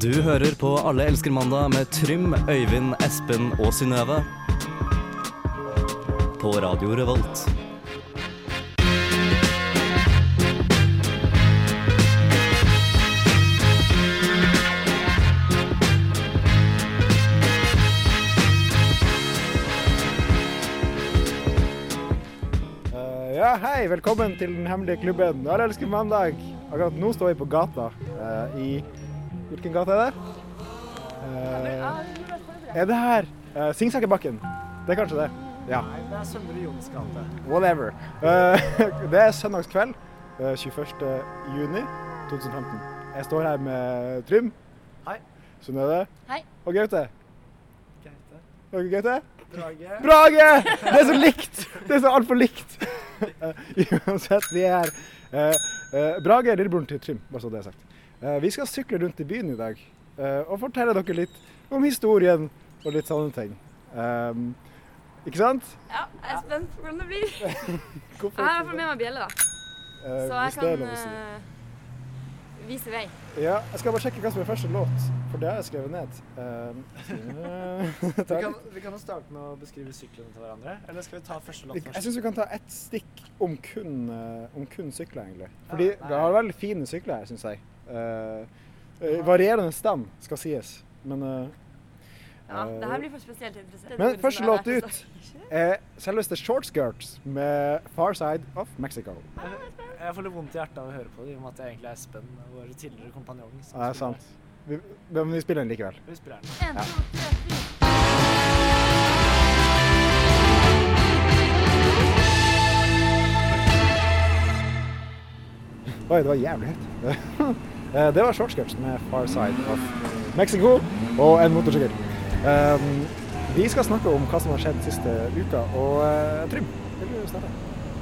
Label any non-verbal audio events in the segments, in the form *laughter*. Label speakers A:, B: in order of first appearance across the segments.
A: Du hører på Alle elsker mandag med Trym, Øyvind, Espen og Synnøve. På Radio Revolt.
B: Eh, ja, hei, velkommen til Den hemmelige klubben. Alle elsker mandag. Akkurat nå står vi på gata eh, i Hvilken gate er det? Eh, er det her? Uh, Singsakerbakken. Det er kanskje det. Ja,
C: Det er Søndre Jons gate.
B: whatever. Eh, *laughs* det er søndagskveld eh, 21. juni 2015. Jeg står her med Trym.
C: Hei.
B: Synnøve.
D: Hei.
B: Og Gaute.
C: Gaute.
B: Er dere Gaute?
C: Drage.
B: Brage! Det er så likt! Det er så altfor likt. Eh, Uansett, vi er her. Eh, eh, Brage er lillebroren til Trym, bare så det er sagt. Eh, vi skal sykle rundt i byen i dag eh, og fortelle dere litt om historien og litt sånne ting. Ehm, ikke sant?
D: Ja, jeg er spent på hvordan det blir. Jeg
B: Hvorfor
D: har i hvert fall med meg bjelle, da.
B: Eh,
D: Så jeg
B: hvis det er
D: kan
B: lov å si.
D: eh, vise vei.
B: Ja, jeg skal bare sjekke hva som er første låt, for det har jeg skrevet ned. Ehm,
C: Vi
B: *laughs* takk.
C: kan, vi kan jo starte med å beskrive syklene til hverandre. Eller skal vi ta første låt
B: Jeg
C: først?
B: syns vi kan ta ett stikk om kun, eh, om kun sykler, egentlig. Fordi
C: nei.
B: det har veldig fine sykler her, syns jeg. Eh, eh, varierende stem, skal sies. Men, eh,
D: Ja,
B: Eh,
D: det her blir for spesielt interessant.
B: men første låt ut er selveste Shortskirts med 'Far Side of Mexico'.
C: Jeg, jeg får litt vondt i hjertet av å høre på det, i og med at jeg egentlig er Espen, vår tidligere kompanjong. som
B: Ja, det er
C: spiller.
B: sant. Vi, men vi spiller den likevel.
C: Vi spiller den.
D: En, to, tre, fire.
B: Oi, det var jævlig høyt. *laughs* Eh, det var shortskirts med Far Side of Mexico og en motorsykkel. Um, vi skal snakke om hva som har skjedd siste uka, og eh, Trym, vil du starte?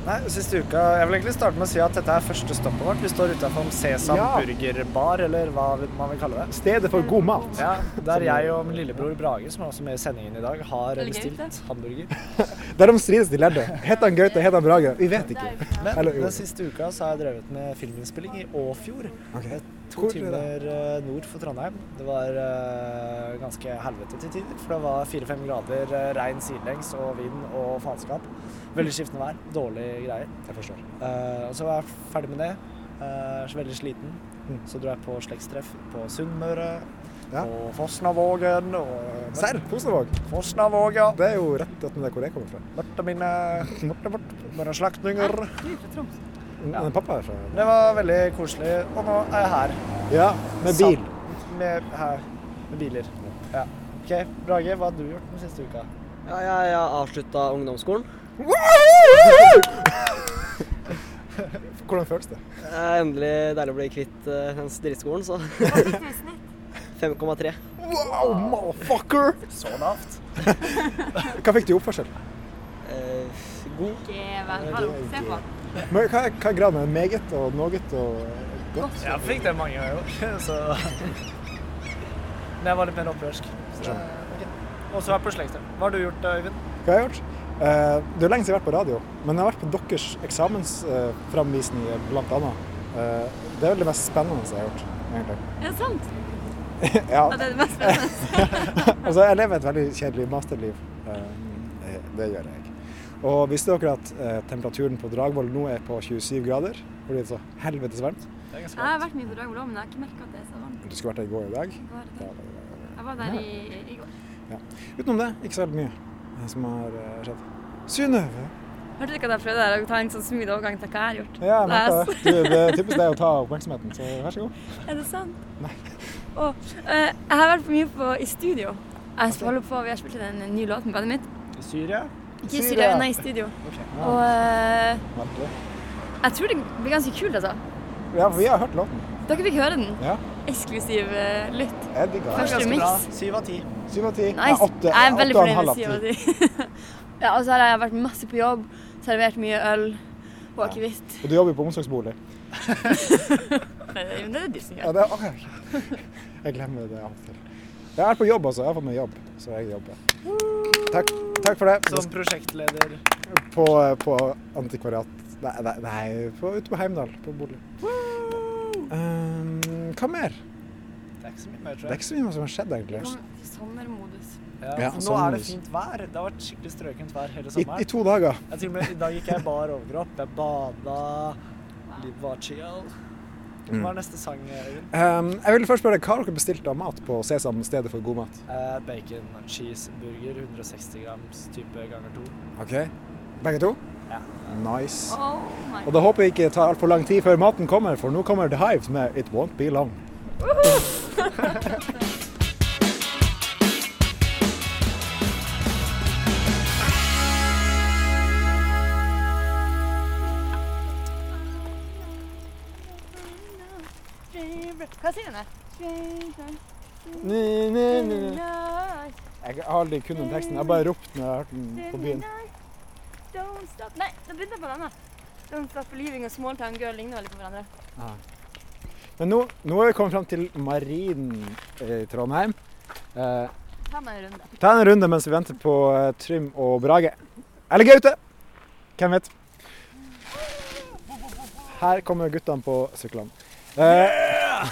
C: Nei, siste uka, Jeg vil egentlig starte med å si at dette er første stoppet vårt. Vi står utafor Sesam
B: Ja.
C: burgerbar, eller hva vi- man vil kalle det.
B: Stedet for god mat.
C: Ja, Der jeg og min lillebror Brage, som er også med i sendingen i dag, har
D: Veldig gøy,
C: bestilt
D: det.
C: hamburger.
B: Der de strides de lærde. Heter han Gaute, heter han Brage? Vi vet
D: Det
B: ikke.
D: er jo bra.
B: Eller
C: Men
B: jo.
C: den siste uka så har jeg drevet med filminnspilling i Åfjord.
B: Ok.
C: To
B: Hvor er det?
C: timer eh, nord for Trondheim. Det var eh, ganske helvete til tider. For det var fire-fem grader, eh, regn sidelengs og vind og faenskap. Veldig skiftende vær. Dårlige greier.
B: Jeg forstår.
C: Eh, og så var jeg ferdig med det. Eh, så veldig sliten.
B: Mm.
C: Så dro jeg på slektstreff på Sunnmøre,
B: Ja.
C: på Fosnavågen og
B: Serr, Fosnavåg.
C: Fosnavåga.
B: Det er jo rett attmed der hvor jeg kommer fra.
C: Møtte mine, møtte, møtte, mine slektninger.
D: Du er fra Troms.
B: Men Pappa er fra
C: Det var veldig koselig. Og nå er jeg her.
B: Ja, med bil.
C: Sam- Med, her. med biler. Ja. OK, Brage, hva har du gjort den siste uka?
E: Ja, jeg, jeg avslutta ungdomsskolen.
B: Hvordan føles det?
E: Det er endelig deilig å bli kvitt eh, den drittskolen, så *laughs*
D: Hva fikk du i snitt?
E: 5,3.
B: Wow, motherfucker!
C: Så lavt.
B: Hva fikk du i oppførsel?
E: Eh, god.
D: Ikke vel. Hallo, se på han.
B: Men hva, hva er graden? Meget og noget og eh, godt?
C: Jeg fikk det mange ganger, *laughs* så Men jeg var litt mer opprørsk. Så, ok. Og så er jeg på slekter. Hva har du gjort, Øyvind?
B: Hva har jeg gjort? Eh, det er lenge siden jeg har vært på radio, men jeg har vært på deres eksamensframvisning uh, blant annet. Eh, det er vel det mest spennende jeg har gjort, egentlig. *laughs*
D: Er det sant?
B: ja,
D: Ja, det er det
B: *laughs*
D: mest spennende.
B: altså, jeg lever et veldig kjedelig masterliv. Eh, det gjør jeg. Og visste dere at eh, temperaturen på Dragvoll nå er på 27 grader? Fordi det er så helvetes varmt.
C: Det er ganske
D: Jeg har
C: bra.
D: vært mye på Dragvoll òg, men jeg har ikke merka at det er så varmt.
B: Du skulle vært der i går i dag.
D: Det
B: Ja,
D: var det.
B: det var-
D: Jeg var der i, i går.
B: Utenom det, ikke så veldig mye eh, som har eh, skjedd. Synnøve!
D: Hørte du ikke at jeg prøvde å ta en sånn smooth overgang til hva jeg har gjort?
B: *laughs* Ja, jeg merker
D: Nei,
B: det. Du, det er typisk deg å ta oppmerksomheten, så vær så god.
D: Er det sant?
B: Nei.
D: Å, eh, jeg har vært mye på, i studio. Jeg holder på, Vi har spilt inn en ny låt med bandet mitt.
C: I Syria?
D: Ikke i
B: Syria.
D: studio, nei, i studio.
C: Ok.
D: Og eh,
B: Vent litt.
D: jeg tror det blir ganske kult, altså.
B: Ja, for vi har hørt låten.
D: Dere fikk høre den.
B: Ja.
D: Eksklusiv eh, lytt.
B: Jeg digger
C: Det er
B: det.
D: Først-
C: ganske
D: mix.
C: bra. Syv av ti.
B: Syv av ti. Nei,
D: Nice.
B: åtte.
D: jeg er veldig
B: åtte og en halv
D: fornøyd med
B: av ti.
D: Syv av ti. *laughs* ja, og så har jeg vært masse på jobb, servert mye øl og akevitt.
B: Og du jobber jo på omsorgsbolig.
D: Men det er jo de som
B: Ja,
D: gjør det.
B: det er, ok. Jeg glemmer det av og til. Jeg er på jobb, altså. Jeg har fått meg jobb, så jeg jobber. Takk, Takk for det.
C: Som prosjektleder.
B: På, på antikvariat Nei, nei, nei på, ute på Heimdal, på bolig. Um, hva Ehm, mer?
F: Det er ikke så mye mer,
B: Det er
F: tror jeg.
B: ikke så mye som har skjedd, egentlig.
D: Kom, sommermodus.
F: Ja,
B: Ja,
F: nå er det
B: sommerhus.
F: fint vær. Det har vært skikkelig strøkent vær hele
B: I, I
F: sommeren.
B: to dager.
F: Jeg til og med, I dag gikk jeg bar overkropp. Jeg bada. Livet var chill. Hva er neste sang, Øyvind?
B: Ehm, jeg vil først spørre, Hva har dere bestilt av mat på Sesam stedet for god mat?
F: Eh, bacon cheeseburger, 160 grams type ganger to.
B: Ok. Begge to?
F: Ja.
B: Nice.
D: Oh my
B: Og da håper vi ikke tar altfor lang tid før maten kommer, for nå kommer The Hives med It Won't Be Long.
D: Hva sier den der?
B: Ni, ni, ni, ni. Jeg har aldri kunnet teksten. Jeg bare ropte når jeg hørte den på byen.
D: Don't stop Nei, da begynte jeg på denne. Don't stop believing og small town girl ligner veldig på hverandre.
B: Men nå, nå er vi kommet fram til Marinen i Trondheim. Eh,
D: Ta meg en runde.
B: ta en runde mens vi venter på eh, Trym og Brage. Eller Gaute! Hvem vet? Her kommer guttene på syklene. Eh,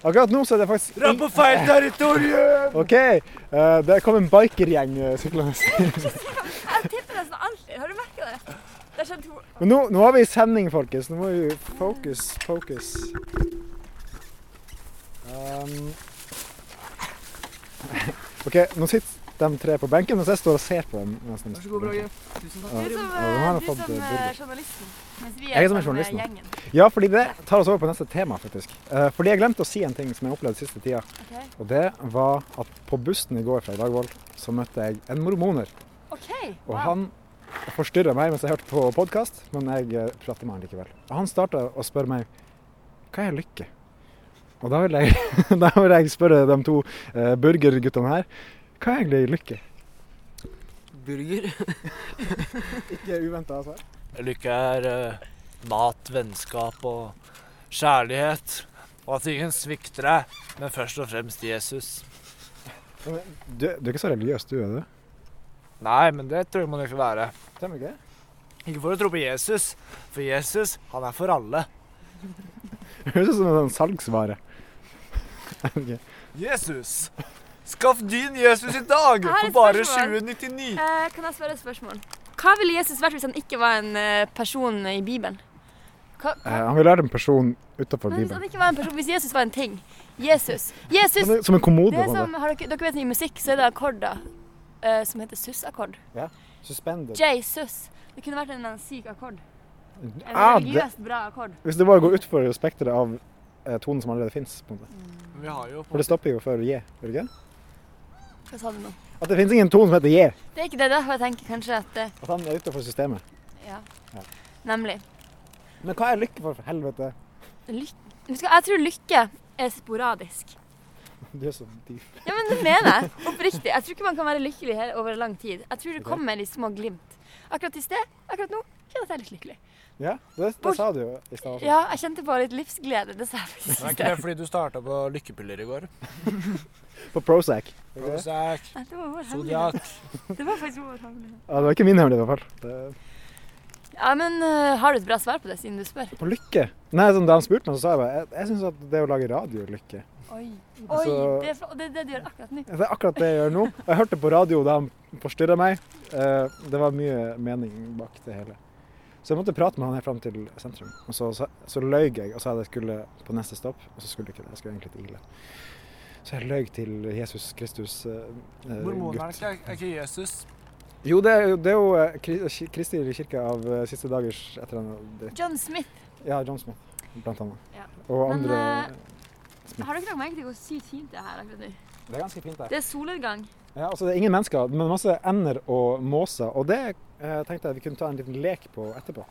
B: akkurat nå så er det faktisk
F: Dra på feil territorium!
B: OK. eh, det kom en bikergjeng eh, syklende.
D: Jeg tipper nesten alltid. Har du merket det? Det har skjedd to
B: Men nå, nå er vi i sending, folkens. Nå må vi focus, focus. Um. *laughs* OK, nå sitter de tre på benken, mens jeg står og ser på dem. mens de sitter på benken.
D: Du som,
B: Ja, den
D: eh,
B: har
D: du
B: fått,
D: som
B: eh,
D: eh,
B: bilder.
D: journalisten. Mens vi
B: Jeg er som
D: sammen med
B: journalisten.
D: gjengen.
B: Ja, fordi det tar oss over på neste tema, faktisk. Eh, fordi jeg glemte å si en ting som jeg opplevde siste tida.
D: Ok.
B: Og det var at på bussen i går fra Dagvoll, så møtte jeg en mormoner.
D: OK.
B: Og
D: wow.
B: han forstyrra meg mens jeg hørte på podkast, men jeg eh, prater med han likevel. Og han starta å spørre meg hva er lykke? Og da vil jeg, *laughs* da vil jeg spørre de to eh, burgerguttene her hva er egentlig lykke?
E: Burger.
B: Ikke altså. uventa svar.
G: Lykke er eh, mat, vennskap og kjærlighet. Og at ingen svikter deg, men først og fremst Jesus.
B: Du, du er ikke så religiøs, du, er du?
G: Nei, men det tror jeg man ikke være.
B: Stemmer ikke det?
G: Ikke for å tro på Jesus, for Jesus, han er for alle.
B: *laughs* Høres ut som en sånn salgsvare. Ok.
G: Jesus! Skaff din Jesus i dag!
D: Jeg har
G: For
D: et
G: bare
D: spørsmål.
G: 2099!
D: Eh, kan jeg spørre et spørsmål? Hva ville Jesus vært hvis han ikke var en eh, person i Bibelen? Hva,
B: Eh,
D: hva?
B: han vil være en person utafor
D: Men hvis,
B: Bibelen.
D: han ikke var en person, hvis Jesus var en ting Jesus! Jesus!
B: Som en- Som en kommode.
D: Det er
B: på en måte.
D: som, har dere, dere vet I musikk så er det akkorder eh, som heter sus-akkord.
B: Suspended.
D: Jesus. Det kunne vært en, en syk akkord. En
B: Ah, det,
D: religiøst bra akkord.
B: hvis det bare går utfor spekteret av eh, tonen som allerede fins.
G: Vi har jo
B: For det stopper jo før J, gjør det ikke?
D: Hva sa du nå?
B: At det finnes ingen ton som heter J.
D: Det er ikke det. Derfor jeg tenker kanskje at det,
B: At han er utenfor systemet.
D: ja.
B: Ja.
D: Nemlig.
B: Men hva er lykke for, for helvete?
D: Lyk Vet du hva, jeg tror lykke er sporadisk.
B: Du er så dyp.
D: Ja, men det mener jeg. Oppriktig. Jeg tror ikke man kan være lykkelig her over lang tid. Jeg tror det
B: Ok.
D: kommer i små glimt. Akkurat i sted, akkurat nå, kjenner jeg at jeg er litt lykkelig.
B: Ja, det, det
D: Bort.
B: sa du jo i stad. også.
D: Ja, jeg kjente på litt livsglede. Det sa
G: Men
D: jeg
G: er
D: faktisk.
G: ikke det fordi du starta på lykkepiller i går?
B: På Prozac. Ja,
G: Prozac,
D: Nei, Det var vår hemmelighet.
G: Zodiac
D: Det var faktisk vår hemmelighet.
B: det var ikke min hemmelighet i hvert fall. Det-
D: Ja, men øh, har du et bra svar på det, siden du spør?
B: På lykke. Nei, sånn, da han spurte meg, så sa jeg bare jeg, jeg syns at det å lage radio er lykke.
D: Oi, Oi
B: Altså-
D: det, er, fra- og det er det du gjør akkurat nå.
B: Det er akkurat det jeg gjør nå. Jeg hørte på radio da han forstyrra meg. Eh, det var mye mening bak det hele. Så jeg måtte prate med han helt fram til sentrum. Og så, så, så løy jeg og sa at jeg skulle på neste stopp, og så skulle jeg ikke det. Jeg skulle egentlig til Ile. Så jeg løy til Jesus Kristus eh, eh,
G: Mormonerne
B: gutt.
G: er ikke- er ikke Jesus.
B: Jo, det er jo, det er jo eh, Kri- Ki- Kristi kirke av eh, siste dagers etter den det-
D: John Smith,
B: Ja, John Smith, blant annet.
D: Ja.
B: Og
D: Men,
B: andre
D: eh, har dere lagt merke til hvor sykt fint det er her akkurat nå?
B: Det er ganske fint der.
D: Det er solnedgang.
B: Ja, altså det er ingen mennesker, men masse ender og måser. Og det eh, tenkte jeg vi kunne ta en liten lek på etterpå.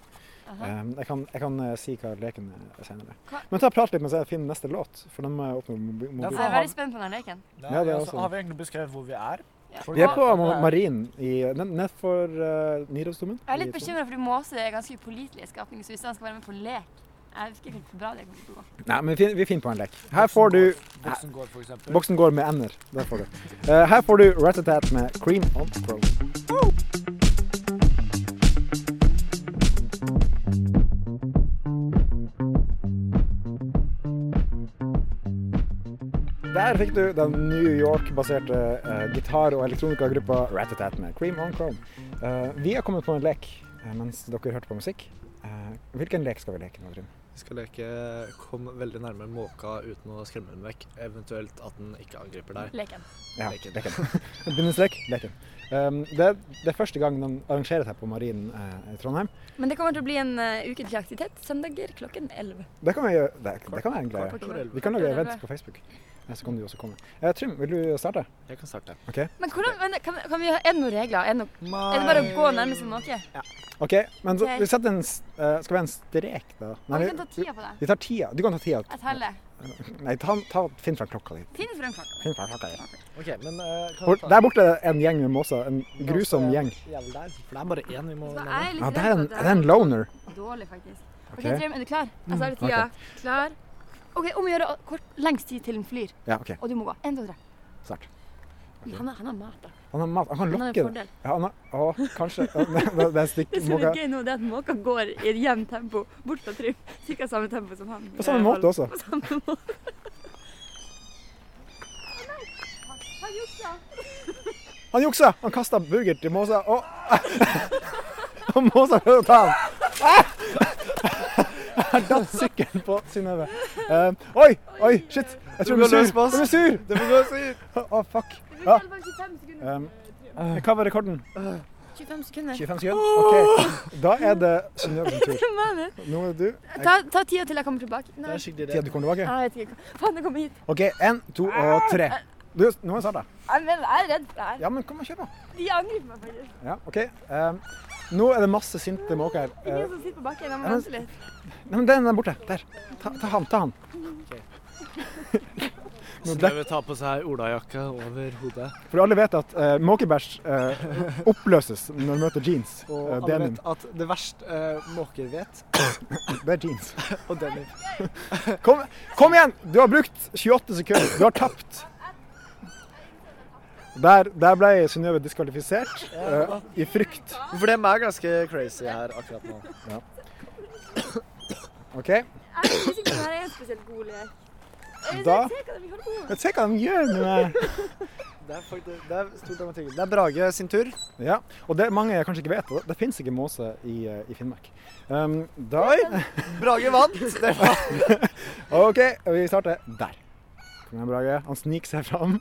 D: Aha.
B: Eh, jeg, kan, jeg kan eh, si hva leken er senere.
D: Hva-
B: Men ta og prat litt mens jeg finner neste låt, for den må jeg åpne mobi-
G: for
D: Jeg
B: mobilen.
D: er veldig spent på den leken.
G: Nei,
B: Ja, det er
G: altså,
B: også-
G: Har vi egentlig beskrevet hvor vi er?
D: Ja.
G: Folk-
B: Vi er på
G: Ja, det
B: Ma- Marin i- ned- nedfor uh, Nirosdomen.
D: Jeg er litt bekymra fordi måse er ganske upålitelige skapninger, så hvis han skal være med på en lek Jeg vet ikke helt hvor bra det kommer til å gå.
B: Nei, men vi fin- vi finner på en lek. Her får du
G: Boksen går, for eksempel.
B: Boksen går med ender. Der får du. Eh, her får du Rat-a-tat med Cream on Throne. Der fikk du den New York-baserte eh, gitar- og elektronikergruppa Ratatat med Cream on Chrome. Eh, vi har kommet på en lek eh, mens dere hørte på musikk. Eh, hvilken lek skal vi leke nå, Trym?
C: Vi skal leke 'kom veldig nærme måka uten å skremme den vekk', eventuelt at den ikke angriper deg.
D: Leken.
B: Ja,
C: Leken.
B: leken. *laughs* Bindestrek, leken. Um, det, det er første gang den arrangeres her på Marinen eh, i Trondheim.
D: Men det kommer til å bli en eh, ukentlig aktivitet. Søndager klokken 11.
B: Det kan vi gjøre. Det, det kan være en
D: Kvart
B: greie.
D: over elleve.
B: Vi kan
D: Kvart
B: lage
D: over
B: event
D: elleve.
B: på Facebook. Eh, Så kan du også komme. Eh, Trym, vil du starte?
C: Jeg kan starte.
D: Men, hvordan, men kan, kan vi ha, er det noen regler? Er det, noe, er det bare å gå nærmest en måke?
B: OK, men så,
D: Ok.
B: vi setter en, s- eh, skal vi ha en strek, da?
D: Og vi
B: vi-
D: kan ta tida på det.
B: vi tar tida. Du kan ta tida.
D: Jeg teller.
B: Nei, ta, ta, finn fram klokka di.
D: Finn frem klokka.
B: Finn fram klokka di.
F: OK, men eh, kan
B: Hvor-
F: vi ta-
B: Der borte er det en gjeng med måser. En grusom
F: Ganske
B: gjeng.
F: Jævlig der.
C: For det er bare én vi må
D: Så
C: nevne.
D: jeg er litt
B: Ja, det er en,
D: redd for
B: det er
D: at
B: en loner.
D: det er dårlig, faktisk. OK,
B: Ok.
D: Trym, er du klar? Jeg starter tida. Klar. OK, om å gjøre å- kort, lengst tid til den flyr.
B: Ja, OK.
D: Og du må gå. Én, to, tre.
B: Start.
D: Men Han, har- han har mat, da.
B: Han har mat. Han kan
D: Han
B: lokke
D: har en
B: den.
D: fordel.
B: Ja, han har, å, kanskje. Det, det er stikk.
D: Det som er
B: Måka.
D: litt gøy nå, det er at måka går i et jevnt tempo bort fra Trym. Sikkert samme tempo som han.
B: På samme måte også.
D: På samme måte. Å nei! Han
B: Han juksa! Han kasta burger til Måsa, og *laughs* Og Måsa prøvde å ta *laughs* han. Ah! Her datt sykkelen på Synnøve. Eh, oi! Oi, shit! Jeg tror hun
C: Du må
B: er
C: løs
B: sur.
C: på oss.
B: Hun er sur!
C: Det må gå si!
B: Å, fuck. Ja.
D: juksa! Det bare 25 sekunder.
B: Um, hva var rekorden?
D: 25 sekunder.
B: 25 sekunder? OK. Da er det Synnøve sin tur.
D: Hva mener du?
B: Nå er det du.
D: Ta, ta tida til jeg kommer tilbake.
C: Det
D: Nei,
C: er skikkelig
B: Tida
C: redd.
B: du kommer tilbake.
D: jeg vet ikke. Faen, jeg kommer hit.
B: OK, én, to og tre. Du, nå er det starta.
D: Jeg, mener, jeg er redd for det her.
B: Ja, men kom og kjør på.
D: De angriper meg faktisk.
B: Ja, OK. Um, nå er det masse sinte måker her.
D: Det er
B: Eh,
D: de som sitter på bakken. Jeg
B: ja,
D: må
B: men-
D: vente litt.
B: Nei, men den er borte. Der. Ta, ta han, ta han. Nå
C: Synnøve tar på seg olajakka over hodet.
B: For alle vet at uh, måkebæsj eh, oppløses når du møter jeans.
C: Og
B: Eh,
C: alle
B: denim.
C: vet at det verste eh, måker vet,
B: Det er jeans.
C: og denim.
B: Kom, kom igjen! Du har brukt 28 sekunder. Du har tapt. Der, der ble Synnøve diskvalifisert eh, i frykt.
C: For dem er ganske crazy her akkurat nå.
B: OK?
D: Jeg er ikke sikker på om dette er en spesielt god lek. Jeg
B: Da-
D: ser hva de holder på med.
B: Men se hva de gjør med meg.
C: Det er, faktisk, det er stor dramatikk. Det er Brage sin tur.
B: Ja, og det mange kanskje ikke vet, det, det fins ikke måse i, eh, i Finnmark. Um, da
C: Brage vant! *laughs* Det var
B: OK, vi starter der. Kom igjen, Brage. Han sniker seg fram.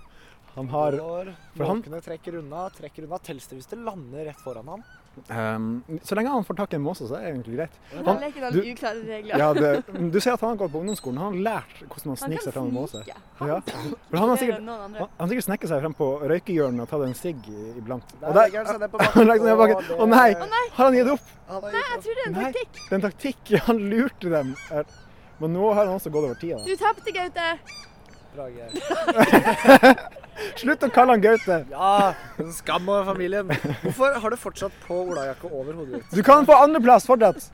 B: Han har
C: Går,
B: for han-
C: Måkene trekker unna, trekker unna. Telles det hvis det lander rett foran han?
B: um, Så lenge han får tak i en måse, så er det egentlig greit.
D: Denne leken har litt uklare regler.
B: Ja, det, du ser at han har gått på ungdomsskolen. Han har lært hvordan man
D: Han
B: sniker
D: kan
B: seg fram i måse.
D: snike.
B: Ja. For han
D: Han
B: har
D: er
B: sikkert,
D: noen andre.
B: han han har sikkert snekket seg frem på røykehjørnet og tatt en sigg i- iblant.
C: Der
B: Og der,
C: legger han seg ned på
B: *laughs* han legger seg ned bak.
C: og det-
B: Å nei! Har han gitt opp?
C: Han har
D: Jeg
C: gitt opp.
D: tror det er en
B: Nei.
D: taktikk.
B: Det er en taktikk. *laughs* Han lurte dem. Er- Men nå har han også gått over tida.
D: Du tapte, Gaute.
C: Brage.
B: Slutt å kalle han Gaute!
C: Ja, en skam over familien. Hvorfor har du fortsatt på olajakke over hodet ditt?
B: Du kan få andreplass fortsatt.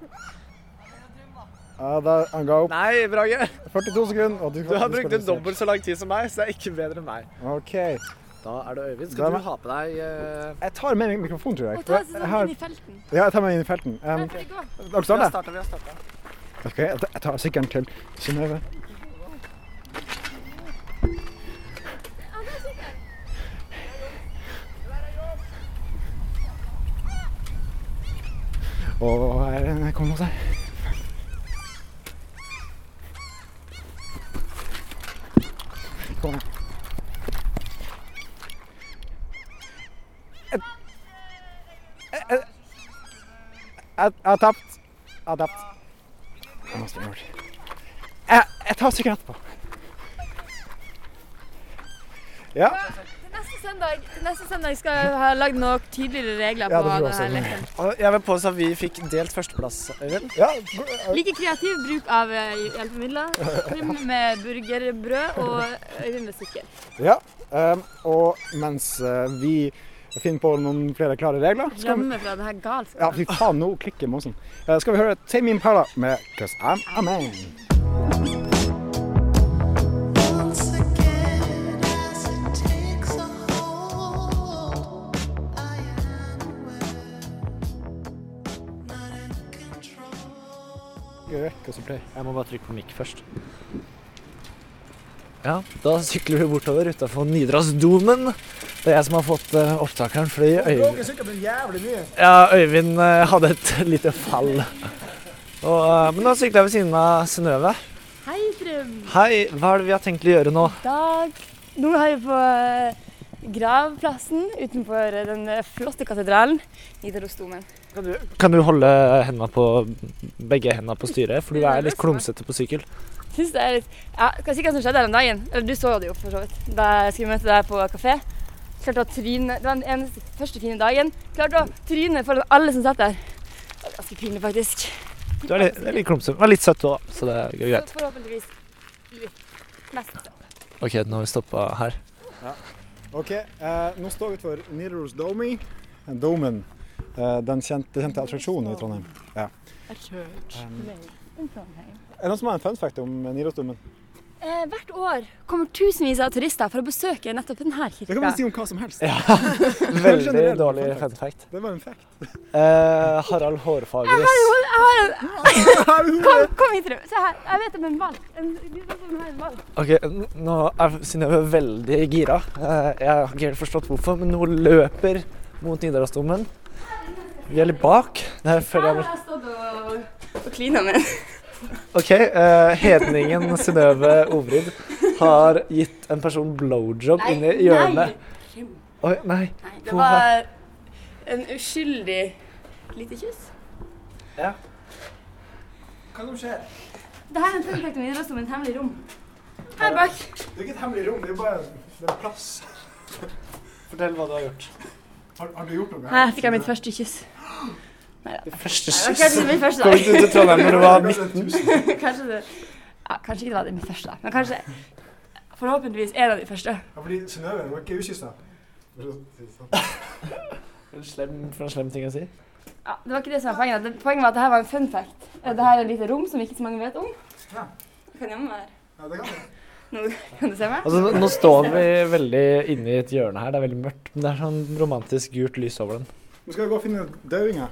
B: Ja, da, han ga opp
C: Nei, Brage.
B: 42 sekunder. Og du,
C: Du har brukt en dobbelt så lang tid som meg, så det er ikke bedre enn meg.
B: OK.
C: Da er det Øyvind.
B: Da er
C: Skal
B: det-
C: du ha på deg eh,
B: Jeg tar med mikrofonen, tror jeg.
D: Og ta
B: For
D: seg
B: jeg
D: sånn
B: har,
D: inn i felten.
B: ja, jeg tar meg inn i felten. Um,
D: Nei, for det går.
B: dere
C: Vi har
B: starter?
C: starta, vi har starta.
B: Ok, jeg tar- jeg tar sykkelen til Synnøve. Og her er- kom hos deg. Kom her. Jeg- jeg- Jeg jeg har tapt. Jeg har tapt. Jeg må springe over. Jeg, jeg tar sykkelen etterpå. Ja.
D: Til neste søndag, til neste søndag skal jeg ha lagd noen tydeligere regler
B: Ja,
D: på
B: det tror jeg
D: denne
B: også.
D: leken.
C: Og Jeg vil påstå at vi fikk delt førsteplass, Øyvind.
B: ja.
D: Like kreativ bruk av eh, hjelpemidler. Trym med burgerbrød og Øyvind med sykkel.
B: ja. ehm, og mens eh, vi finner på noen flere klare regler skal vi,
D: Rømme fra det her
B: Ja,
D: galskapen.
B: fy faen, nå klikker måsen. Eh, skal vi høre Tame Impala med 'Cause I'm a Man'.
H: Once again, as it takes a hold, I am aware, not in control.
B: Skal vi rekke oss og play?
C: Jeg må bare trykke på mikk først.
I: Ja.
C: Da sykler vi bortover utafor Nidrasdomen. Det er jeg som har fått eh, opptakeren, fordi Øyvind,
B: jævlig mye.
C: ja, Øyvind eh, hadde et *laughs* lite fall. Og, eh, men da sykler jeg ved siden av Synnøve.
D: Hei, Trym.
C: Hei, hva er det vi har tenkt å gjøre nå?
D: Dag. Nå er vi på eh, gravplassen utenfor eh, den flotte katedralen Nidarosdomen.
C: Kan du holde hendene på, begge hendene på styret, for du er litt klumsete på sykkel.
D: Synes det er litt ja, Skal jeg si hva som skjedde her den dagen? Eller du så det jo, for så vidt. Da jeg skulle møte deg på kafé. Klarte å tryne Det var den eneste, første fine dagen. Klarte å tryne foran alle som satt der. Det var ganske pinlig, faktisk.
C: Du er litt, det er litt klumsete, men litt søt òg, så det går greit.
D: Så forhåpentligvis litt mest.
C: OK, nå har vi stoppa her.
B: Ok, eh, nå står vi utenfor Nidaros Domi. Domen. Eh, den kjente, kjente attraksjonen i Trondheim. Um, Er det noen som har en fun fact om Nidarosdomen?
D: Eh, hvert år kommer tusenvis av turister for å besøke nettopp denne
B: Det kan
D: kirka.
B: man si om hva som helst.
C: Veldig
B: Generell
C: dårlig
B: fun
C: fun fact.
B: Det var en fact.
C: Eh, Harald Hårfagres.
D: Kom, kom hit, Trym. Se her. Jeg vet om en ball. En, du vet om en ball.
C: Ok, n- Nå er Synnøve veldig gira. Eh, jeg har ikke helt forstått hvorfor, men hun løper mot Nidarosdomen. Vi er litt bak. Det her føler jeg
D: Her har jeg stått og, og klina med den.
C: Ok, eh, hedningen Synnøve Ovrid har gitt en person blowjob inn i hjørnet. Oi, nei.
D: Nei,
C: det var
D: en uskyldig lite kyss.
C: Ja.
D: Hva er det som skjer? Dette er en funfact om idrett som et hemmelig rom. Her bak.
B: Det er ikke et hemmelig rom, det er bare det er plass.
C: Fortell hva du har gjort.
B: Har, har du gjort noe
D: Her fikk jeg mitt første kyss.
C: Første
D: Nei, det var kanskje ikke min første *laughs*
C: Kom
D: dag.
C: du til Trondheim når du var 19?
D: Kanskje, det, ja, kanskje ikke det var det min første, da. men kanskje forhåpentligvis en av de første.
B: Ja, fordi Synnøve var ikke ukyssa.
C: Slem, for en slem ting å si.
D: Ja, det var ikke det som var poenget. Det- Poenget var at dette var en fun fact. Eh, Dette er et lite rom som ikke så mange vet om.
B: Ja.
D: Jeg kan gjemme meg her.
B: Ja, det kan jeg.
D: Kan du se meg?
C: Altså, nå- nå står vi veldig inne i et hjørne her. Det er veldig mørkt, men det er sånn romantisk gult lys over den.
B: Nå skal vi gå og finne dauinga.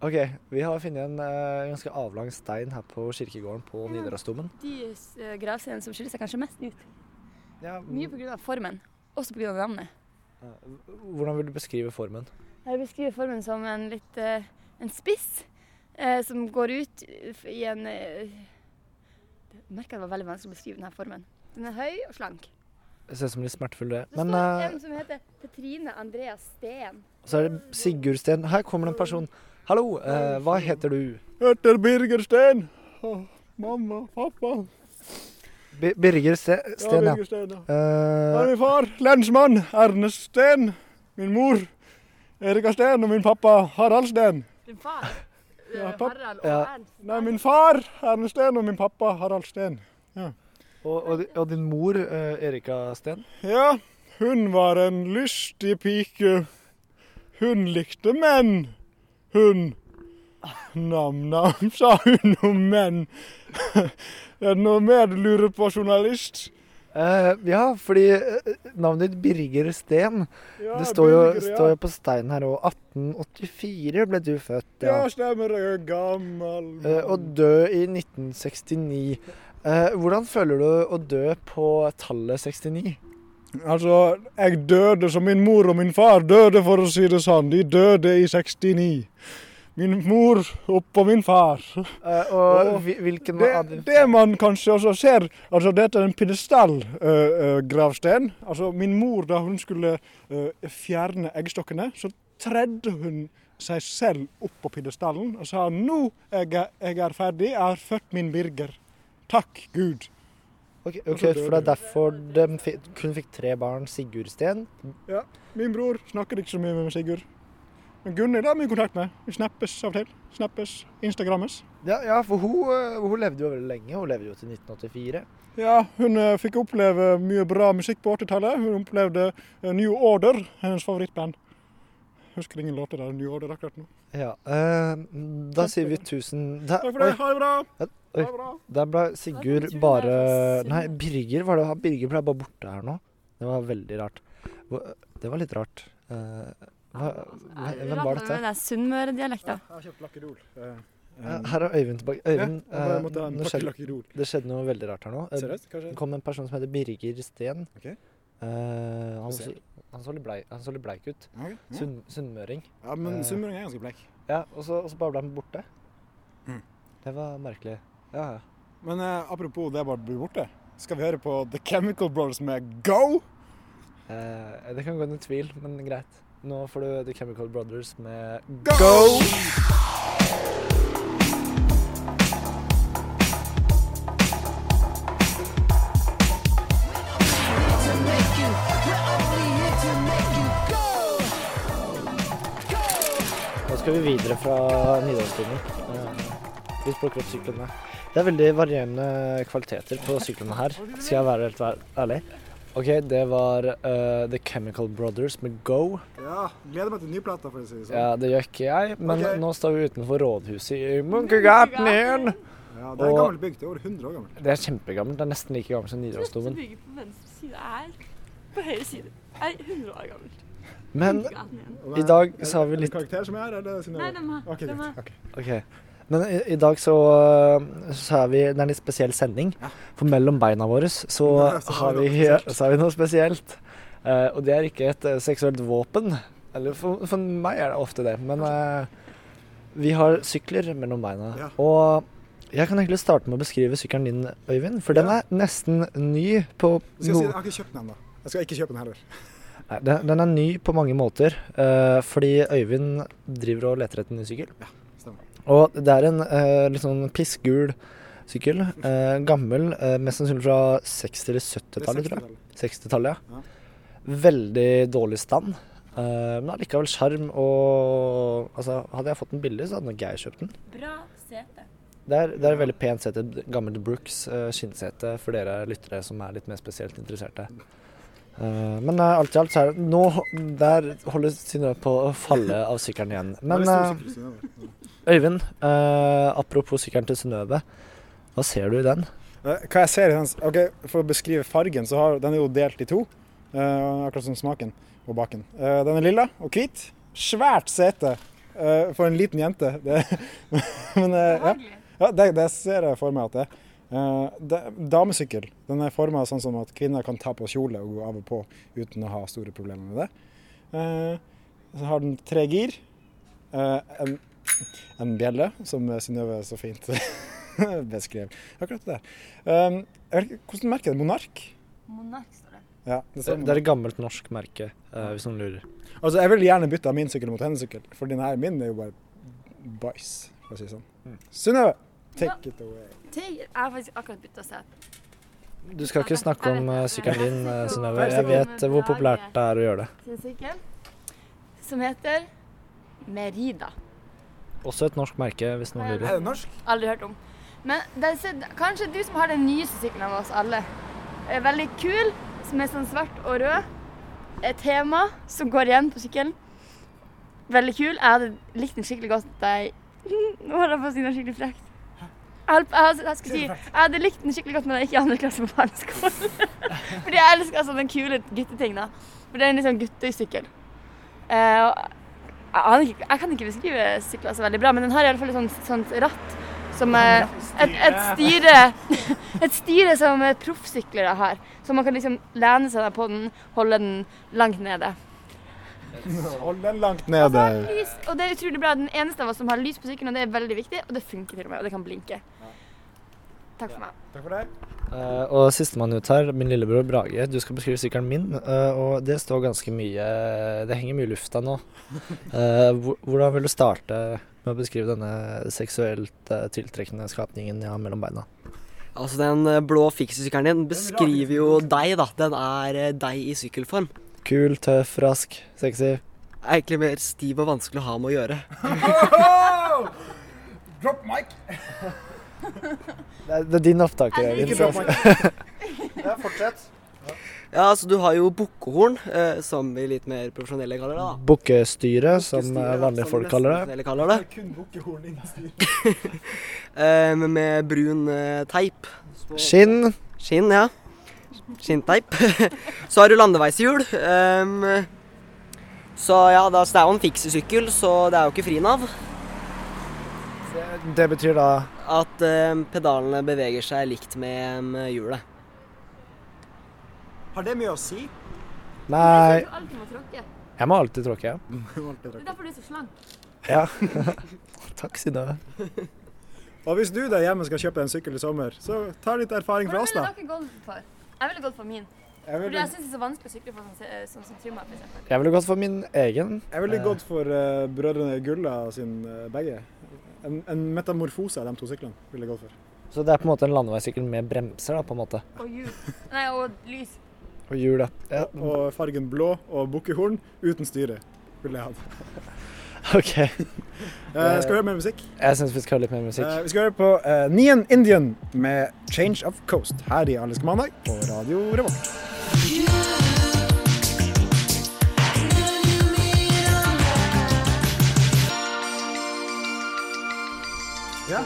C: Ok, vi har funnet en eh, ganske avlang stein her på kirkegården på Nidarosdomen.
D: De eh, gravsteinene som skiller seg kanskje mest ut.
C: Ja,
D: Mye pga. formen, også pga. navnet.
C: hvordan vil du beskrive formen?
D: Jeg beskriver formen som en litt eh, en spiss eh, som går ut i en eh, Jeg merker det var veldig vanskelig å beskrive denne formen. Den er høy og slank.
C: Det ser ut som litt smertefull det.
D: Det
C: Men
D: står
C: eh,
D: en som heter Petrine Andreas Steen.
C: så er det Sigurd Steen. Her kommer det en person. Hallo, eh, hva heter du?
B: Etter Birger Stein. mamma, pappa.
C: Bi- Birger Ste- Steen, ja.
B: Stein, ja.
C: Eh,
B: Her er min far, lensmann Ernest Steen. Min mor, Erika Steen, og min pappa, Harald Steen.
D: Din far?
B: Ja, papp-
D: Harald
C: Ja.
D: Ernst?
B: Nei, min far, Ernest Steen, og min pappa, Harald Steen.
C: og, og, di- og din mor, eh, Erika Steen.
B: Ja, hun var en lystig pike. Hun likte menn. Hun Nam-nam, *laughs* sa hun om menn. *laughs* Det er noe mer du lurer på, journalist?
C: Eh, ja, fordi eh, navnet ditt Birger Steen,
B: Ja,
C: det står jo,
B: Birger, ja.
C: står jo på steinen her òg. 1884 ble du født, ja.
B: Ja, stemmer. Jeg er gammel.
C: Eh, og død i 1969. Eh, hvordan føler du å dø på tallet 69?
B: Altså, jeg døde som min mor og min far døde, for å si det sånn. De døde i 69. Min mor oppå min far.
C: Eh, og
B: Åh,
C: hvi- hvilken
B: Det,
C: av din-
B: det man kanskje også ser, altså dette er en pedestallgravstein. altså min mor, da hun skulle øh, fjerne eggstokkene, så tredde hun seg selv opp på pedestallen og sa nå jeg er jeg er ferdig, jeg har født min Birger. Takk Gud.
C: Ok,
B: Og
C: ok,
B: så dør
C: for det er
B: du.
C: derfor de fi- kun fikk tre barn, Sigurd Steen.
B: Min bror snakker ikke så mye med Sigurd. Men Gunnhild har mye kontakt med. Vi snappes av og til. Snappes, Instagrammes.
C: Ja, ja for hun, eh, hun levde jo veldig lenge. Hun levde jo til 1984.
B: Ja, hun eh, fikk oppleve mye bra musikk på 80-tallet. Hun opplevde eh, New Order, hennes favorittband. Husker ingen låter av New Order akkurat nå.
C: Ja, eh, da sier vi tusen da,
B: Takk for det,
C: oi,
B: ha det bra!
C: Ja,
B: Ha det bra.
C: Der ble Sigurd
D: Jeg tror det er eh,
C: bare
D: fra
C: Nei,
D: Sunne.
C: Birger var det. han- Birger ble bare borte her nå. Det var veldig rart. Hva- Det var litt rart. Eh, hva, hvem var dette?
D: Det er Sunnmøre-dialekta.
B: Jeg har kjøpt lakkedol. Eh,
C: Her er Øyvind tilbake.
B: ja,
C: Øyvind,
B: jeg bare
C: eh,
B: måtte ha en
C: nå skjedde,
B: kakerlakkerol.
C: det skjedde noe veldig rart her nå. Eh,
B: Seriøst? Kanskje?
C: Det kom en person som heter Birger Steen.
B: Ok.
C: Eh, han,
B: Ser.
C: så, han, så litt blei- han så litt bleik ut.
B: Ja, ok. Ja.
C: Sunn- Sunnmøring.
B: ja, men
C: eh,
B: sunnmøring er ganske bleik.
C: Ja, og så, og så bare ble han borte.
B: Mm.
C: Det var merkelig. Ja, ja.
B: Men eh, apropos det bare blir borte. Skal vi høre på The Chemical Brothers med Go?
C: Eh, det kan gå under tvil, men greit. Nå får du The Chemical Brothers med
B: Go!
C: Nå skal vi videre fra Nydalsturen. Eh, Vi plukker opp syklene. Det er veldig varierende kvaliteter på syklene her, skal jeg være helt vær- ærlig. OK, det var eh, The Chemical Brothers med Go.
B: Ja, gleder meg til nyplata, for å si det sånn.
C: Ja, det gjør ikke jeg, men
B: Ok.
C: nå står vi utenfor rådhuset i Munkegatneren.
B: Ja, det er
C: Og-
B: gammelt bygg. Det er over 100 år gammelt.
C: Det er kjempegammelt. Det er nesten like gammelt som Nidarosdomen.
D: bygget på venstre side er på høyre side. Er 100 år gammelt.
C: Men
B: Og
C: i
B: det-
C: dag
B: er-
C: så har
B: er
C: vi
B: det
C: litt
B: karakter som er her, eller Synnøve? Ok, greit.
C: OK. Men i, i dag så, eh, så er vi Det er en litt spesiell sending. For mellom beina våre så
B: Ja, så har
C: har
B: vi
C: vi,
B: noe spesielt.
C: *laughs* så har vi noe spesielt. Eh, og det er ikke et eh, seksuelt våpen. Eller for, for meg er det ofte det. Men eh, vi har sykler mellom beina.
B: Ja.
C: Og jeg kan egentlig starte med å beskrive sykkelen din, Øyvind. For den
B: Ja.
C: er nesten ny på
B: Jeg skal si,
C: no-
B: jeg har ikke kjøpt den ennå. Jeg skal ikke kjøpe den heller.
C: Nei, den, den er ny på mange måter, eh, fordi Øyvind driver og leter etter en ny sykkel.
B: stemmer.
C: og det er en eh, litt sånn pissgul sykkel. eh, gammel, eh, mest sannsynlig fra 60- eller
B: Det er
C: 70-tallet, tror jeg.
B: 60-tallet.
C: 60-tallet,
B: Ja.
C: ja. Veldig dårlig stand. eh, men allikevel sjarm og Altså, hadde jeg fått den billig, så hadde nok jeg kjøpt den.
D: Bra sete.
C: Det er, det er et veldig pent sete. Gammelt Brooks eh, skinnsete for dere lyttere som er litt mer spesielt interesserte. Eh, men eh, alt i alt så er det Nå der holder Synnøve på å falle av sykkelen igjen.
B: *laughs* Det er
C: Men
B: stor
C: eh,
B: sykkel, Synnøve.
C: Øyvind, eh, apropos sykkelen til Synnøve. Hva ser du i den?
B: Eh, Hva jeg ser i den s- Ok, For å beskrive fargen, så har den er jo delt i to. eh, akkurat som smaken og baken. Eh, den er lilla og hvit. Svært sete eh, for en liten jente. Det, *laughs* men eh, ja, ja det, det ser jeg for meg at det er. Eh, det- damesykkel. Den er forma sånn som at kvinner kan ta på kjole og gå av og på uten å ha store problemer med det. Eh, så har den tre gir. eh, en, en bjelle, som Synnøve så fint *laughs* beskrev akkurat det. Um, jeg vet ikke, hvordan merker jeg det? Monark?
D: Monark står det.
B: Ja, det
C: Eh, Det
B: stemmer.
C: er et gammelt norsk merke, eh, hvis noen lurer.
B: Altså, jeg vil gjerne bytte av min sykkel mot hennes sykkel, for den her min er jo bare bæsj, for å si det sånn.
C: Mm.
B: Synnøve, take it away.
D: Jeg har faktisk akkurat bytta sete.
C: Du skal ikke snakke om eh, sykkelen din, eh, Synnøve. Jeg
D: Vær så
C: vet
D: god.
C: eh, hvor populært det er å gjøre det.
D: Sin sykkel, som heter Merida.
C: Også et norsk merke, hvis noen lurer.
B: Er det norsk?
D: Aldri hørt om. Men den ser, kanskje du som har den nyeste sykkelen av oss alle, er veldig kul, som er sånn svart og rød. Et tema som går igjen på sykkelen. Veldig kul. Jeg hadde likt den skikkelig godt da jeg *laughs* Nå holder jeg på å si noe skikkelig frekt. Jeg, holdt- jeg, hadde- jeg, skulle si, jeg hadde likt den skikkelig godt når jeg gikk i andre klasse på barneskolen. *laughs* Fordi jeg elsker altså, den kule gutteting, da. For det er en litt sånn guttesykkel. Eh, og jeg, aner ikke, jeg kan ikke beskrive sykler så veldig bra, men den har i alle fall et sånt, sånt ratt som eh, et, et styre *laughs* Et styre som eh, proffsyklere har. Så man kan liksom lene seg på den, holde den langt nede.
B: Hold den langt nede.
D: Lys, og det er utrolig bra. Den eneste av oss som har lys på sykkelen, og det er veldig viktig. Og det funker til og med, og det kan blinke. Takk for meg.
B: Takk for det.
C: Eh, og sistemann ut her, min lillebror Brage. Du skal beskrive sykkelen min, eh, og det står ganske mye Det henger mye i lufta
E: *laughs*
C: nå. Eh, hvor- hvordan vil du starte med å beskrive denne seksuelt eh, tiltrekkende skapningen jeg har mellom beina?
E: Altså, den eh, blå fiksesykkelen din beskriver jo deg, da. Den er eh, deg i sykkelform.
C: Kul, tøff, rask, sexy.
E: Er egentlig mer stiv og vanskelig å ha med å gjøre.
B: Drop mic.
C: Det er, det er din opptaker,
B: Ikke
C: Øyvind.
B: drop
C: så-
B: mic. ja, fortsett.
E: Ja, altså, du har jo bukkehorn, eh, som vi litt mer profesjonelle kaller det, da.
C: Bukkestyre, som eh,
E: Bukkestyre,
C: vanlige
E: som
C: folk
E: nesten
C: kaller det.
E: profesjonelle kaller det.
B: Kun bukkehorn innstyr.
E: *laughs* Eh, men med brun eh, teip. Så-
C: Skinn.
E: Skinn, ja. Skinnteip. *laughs* så har du landeveishjul. ehm, så ja, da, så det er jo en fiksesykkel, så det er jo ikke frin av.
F: Det betyr da
E: At eh, pedalene beveger seg likt med em, hjulet.
J: Har det mye å
B: *laughs*
J: si?
D: Det
C: Nei,
D: er alltid må tråkke. Det
C: jeg må alltid tråkke. ja.
D: er derfor du er så slank.
C: Takk, Synnøve.
B: Og hvis du der hjemme skal kjøpe en sykkel i sommer, så ta litt erfaring fra
D: Hvordan
B: oss, da.
D: ville dere gått for? Jeg ville gått for min.
B: Jeg
D: Fordi
B: ville,
D: jeg syns det er så vanskelig å sykle for sånn, se- sånn som Trym har, for eksempel.
C: Jeg ville gått for min egen.
B: jeg ville gått for eh, brødrene Gulla sin eh, begge. En, en metamorfose av de to syklene ville jeg gått for.
C: Så det er på en måte en landeveissykkel med bremser, da, på en måte.
D: Og hjul. *laughs* Nei, og lys.
C: Og hjul, da. Ja,
B: Og fargen blå og bukkehorn uten styre ville jeg hatt.
C: *laughs* OK.
B: Eh, skal vi høre mer musikk?
C: Jeg syns vi skal høre litt mer musikk.
B: Eh, vi skal høre på eh, Nien Indian med 'Change of Coast' her i Alisk Mandag på Radio Revolt. Ja,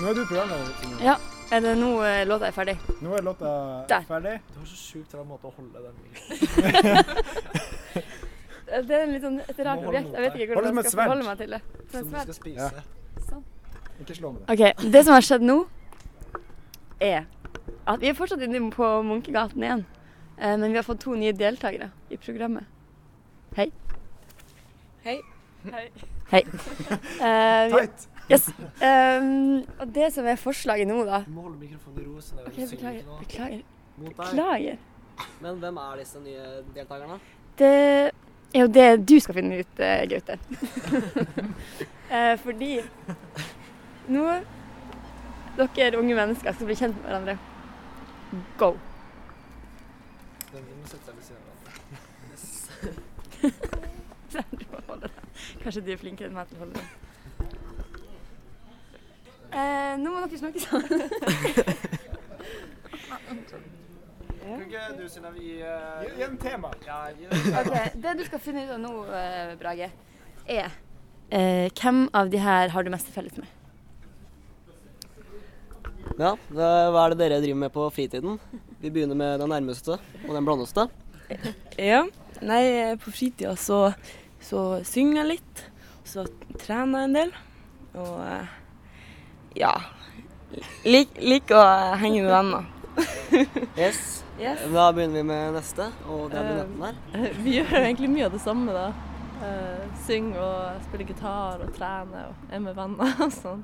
B: nå er du programleder. Signe.
D: Ja. Er det nå eh, låta er ferdig?
B: Nå er låta
D: Der.
B: ferdig.
G: Du har så sjukt rar måte å holde den mikrofonen
D: Det er en litt sånn, et rart
G: Må holde
D: objekt.
G: mot
D: Jeg vet ikke
B: Hold det
D: hvordan
B: som
D: jeg
B: et
D: skal forholde
B: sverd.
D: meg til det. Som et
G: som du
D: sverd.
G: skal spise.
B: Ikke slå med det.
D: OK. Det som har skjedd nå, er at vi er fortsatt inne på Munkegaten igjen. Eh, Men vi har fått to nye deltakere i programmet. Hei. Hei. Hei. Hei. Eh, vi-
B: Tight.
D: yes. Um, og det som er forslaget nå, da
G: Du må holde mikrofonen i ro. sånn at
D: OK,
G: du synger
D: beklager.
G: ikke noe.
D: Beklager.
G: Mot deg.
D: beklager.
E: Men hvem er disse nye deltakerne?
D: Det er jo eh, det du skal finne ut, eh, *laughs* Gaute. Eh, Fordi nå dere unge mennesker skal bli kjent med hverandre. Go.
G: Den må sette seg ved siden av hverandre.
D: *laughs* Du må holde det. Kanskje de er flinkere enn meg til å holde det. Eh, nå må dere snakke sammen.
G: Kan ikke du, Synnøve, gi eh,
B: Gi en tema.
G: Ja, gi det.
D: *laughs* Ok, Det du skal finne ut av nå, eh, Brage, er eh, hvem av de her har du mest til felles med?
E: Ja, hva hva er det dere driver med på fritiden? Vi begynner med den nærmeste og den blondeste.
K: Ja. Nei, eh, på fritida så, så synger jeg litt. og Så trener jeg en del. Og eh, ja. Lik, liker å henge med venner.
E: Yes. Eh,
K: Yes.
E: Da begynner vi med neste, og det er brunetten her.
K: *laughs* Vi gjør egentlig mye av det samme, da. Uh, synger og spiller gitar og trener og er med venner og sånn.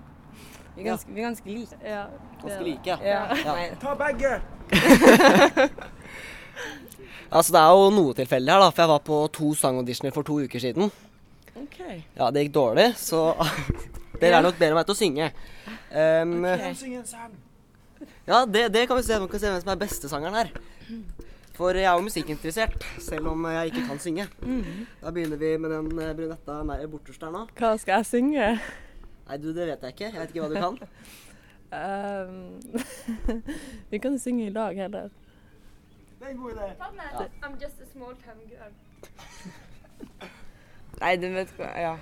E: Vi er ganske-
K: like. Ja,
E: Ganske like, ja.
K: Ja.
E: ja.
J: Ta begge!
E: Altså, det er jo noe tilfeldig her, da, for jeg var på to sangauditioner for to uker siden. Ja, det gikk dårlig, så *laughs* dere er nok bedre enn meg til å synge. Um,
J: Syng en sang.
E: Ja, det, det kan vi se. Man kan se hvem som er beste sangeren her. For jeg er jo musikkinteressert, selv om jeg ikke kan synge. Da begynner vi med den eh, brunetta nei, borterst her nå.
K: Hva skal jeg synge?
E: Nei, du, det vet jeg ikke. Jeg vet ikke hva du kan.
K: Ehm, *laughs* vi kan jo synge i lag heller.
D: I'm just a small time girl.
K: *laughs* Nei, du vet hva Ja.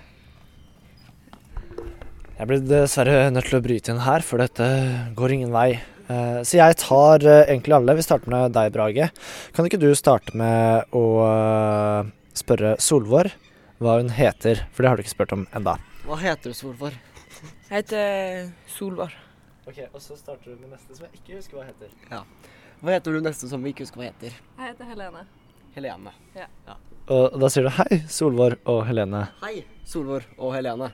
C: Jeg blir dessverre nødt til å bryte inn her, for dette går ingen vei. Eh, Så jeg tar eh, egentlig alle. Vi starter med deg, Brage. Kan ikke du starte med å eh, spørre Solvår hva hun heter? For det har du ikke spurt om enda.
E: *laughs* Hva heter du, Solfor?
K: Jeg heter eh, Solvar.
C: Ok, Og så starter du med neste, som jeg ikke husker hva heter.
E: Hva heter du neste som vi ikke husker hva heter?
K: Jeg heter Helene.
E: Helene.
C: Og da sier du hei, Solvår og Helene.
E: Hei, Solvor og Helene.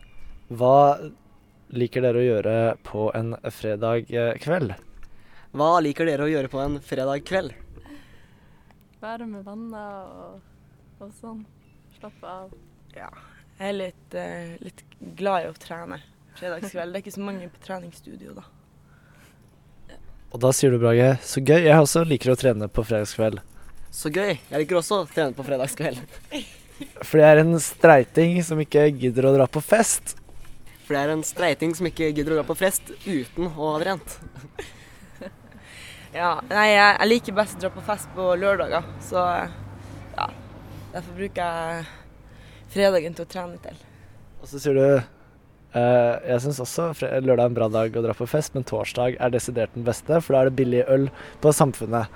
C: Hva liker dere å gjøre på en fredag eh, kveld?
E: Hva liker dere å gjøre på en fredag kveld?
K: Være med venner og, og sånn. Slappe av. Ja. Jeg er litt, eh, litt glad i å trene fredagskveld. Det er ikke så mange på treningsstudio, da.
C: Og da sier du, Brage, så gøy. Jeg også liker å trene på fredagskveld.
E: Så gøy. Jeg liker også å trene på fredagskveld.
C: Fordi jeg er en streiting som ikke gidder å dra på fest.
E: For det er en streiting som ikke gidder å dra på fest uten å ha trent.
K: Ja, nei, jeg, jeg liker best å dra på fest på lørdager, så eh, ja. Derfor bruker jeg fredagen til å trene til.
C: Og så sier du eh, jeg syns også fre- lørdag er en bra dag å dra på fest, men torsdag er desidert den beste, for da er det billig øl på Samfunnet.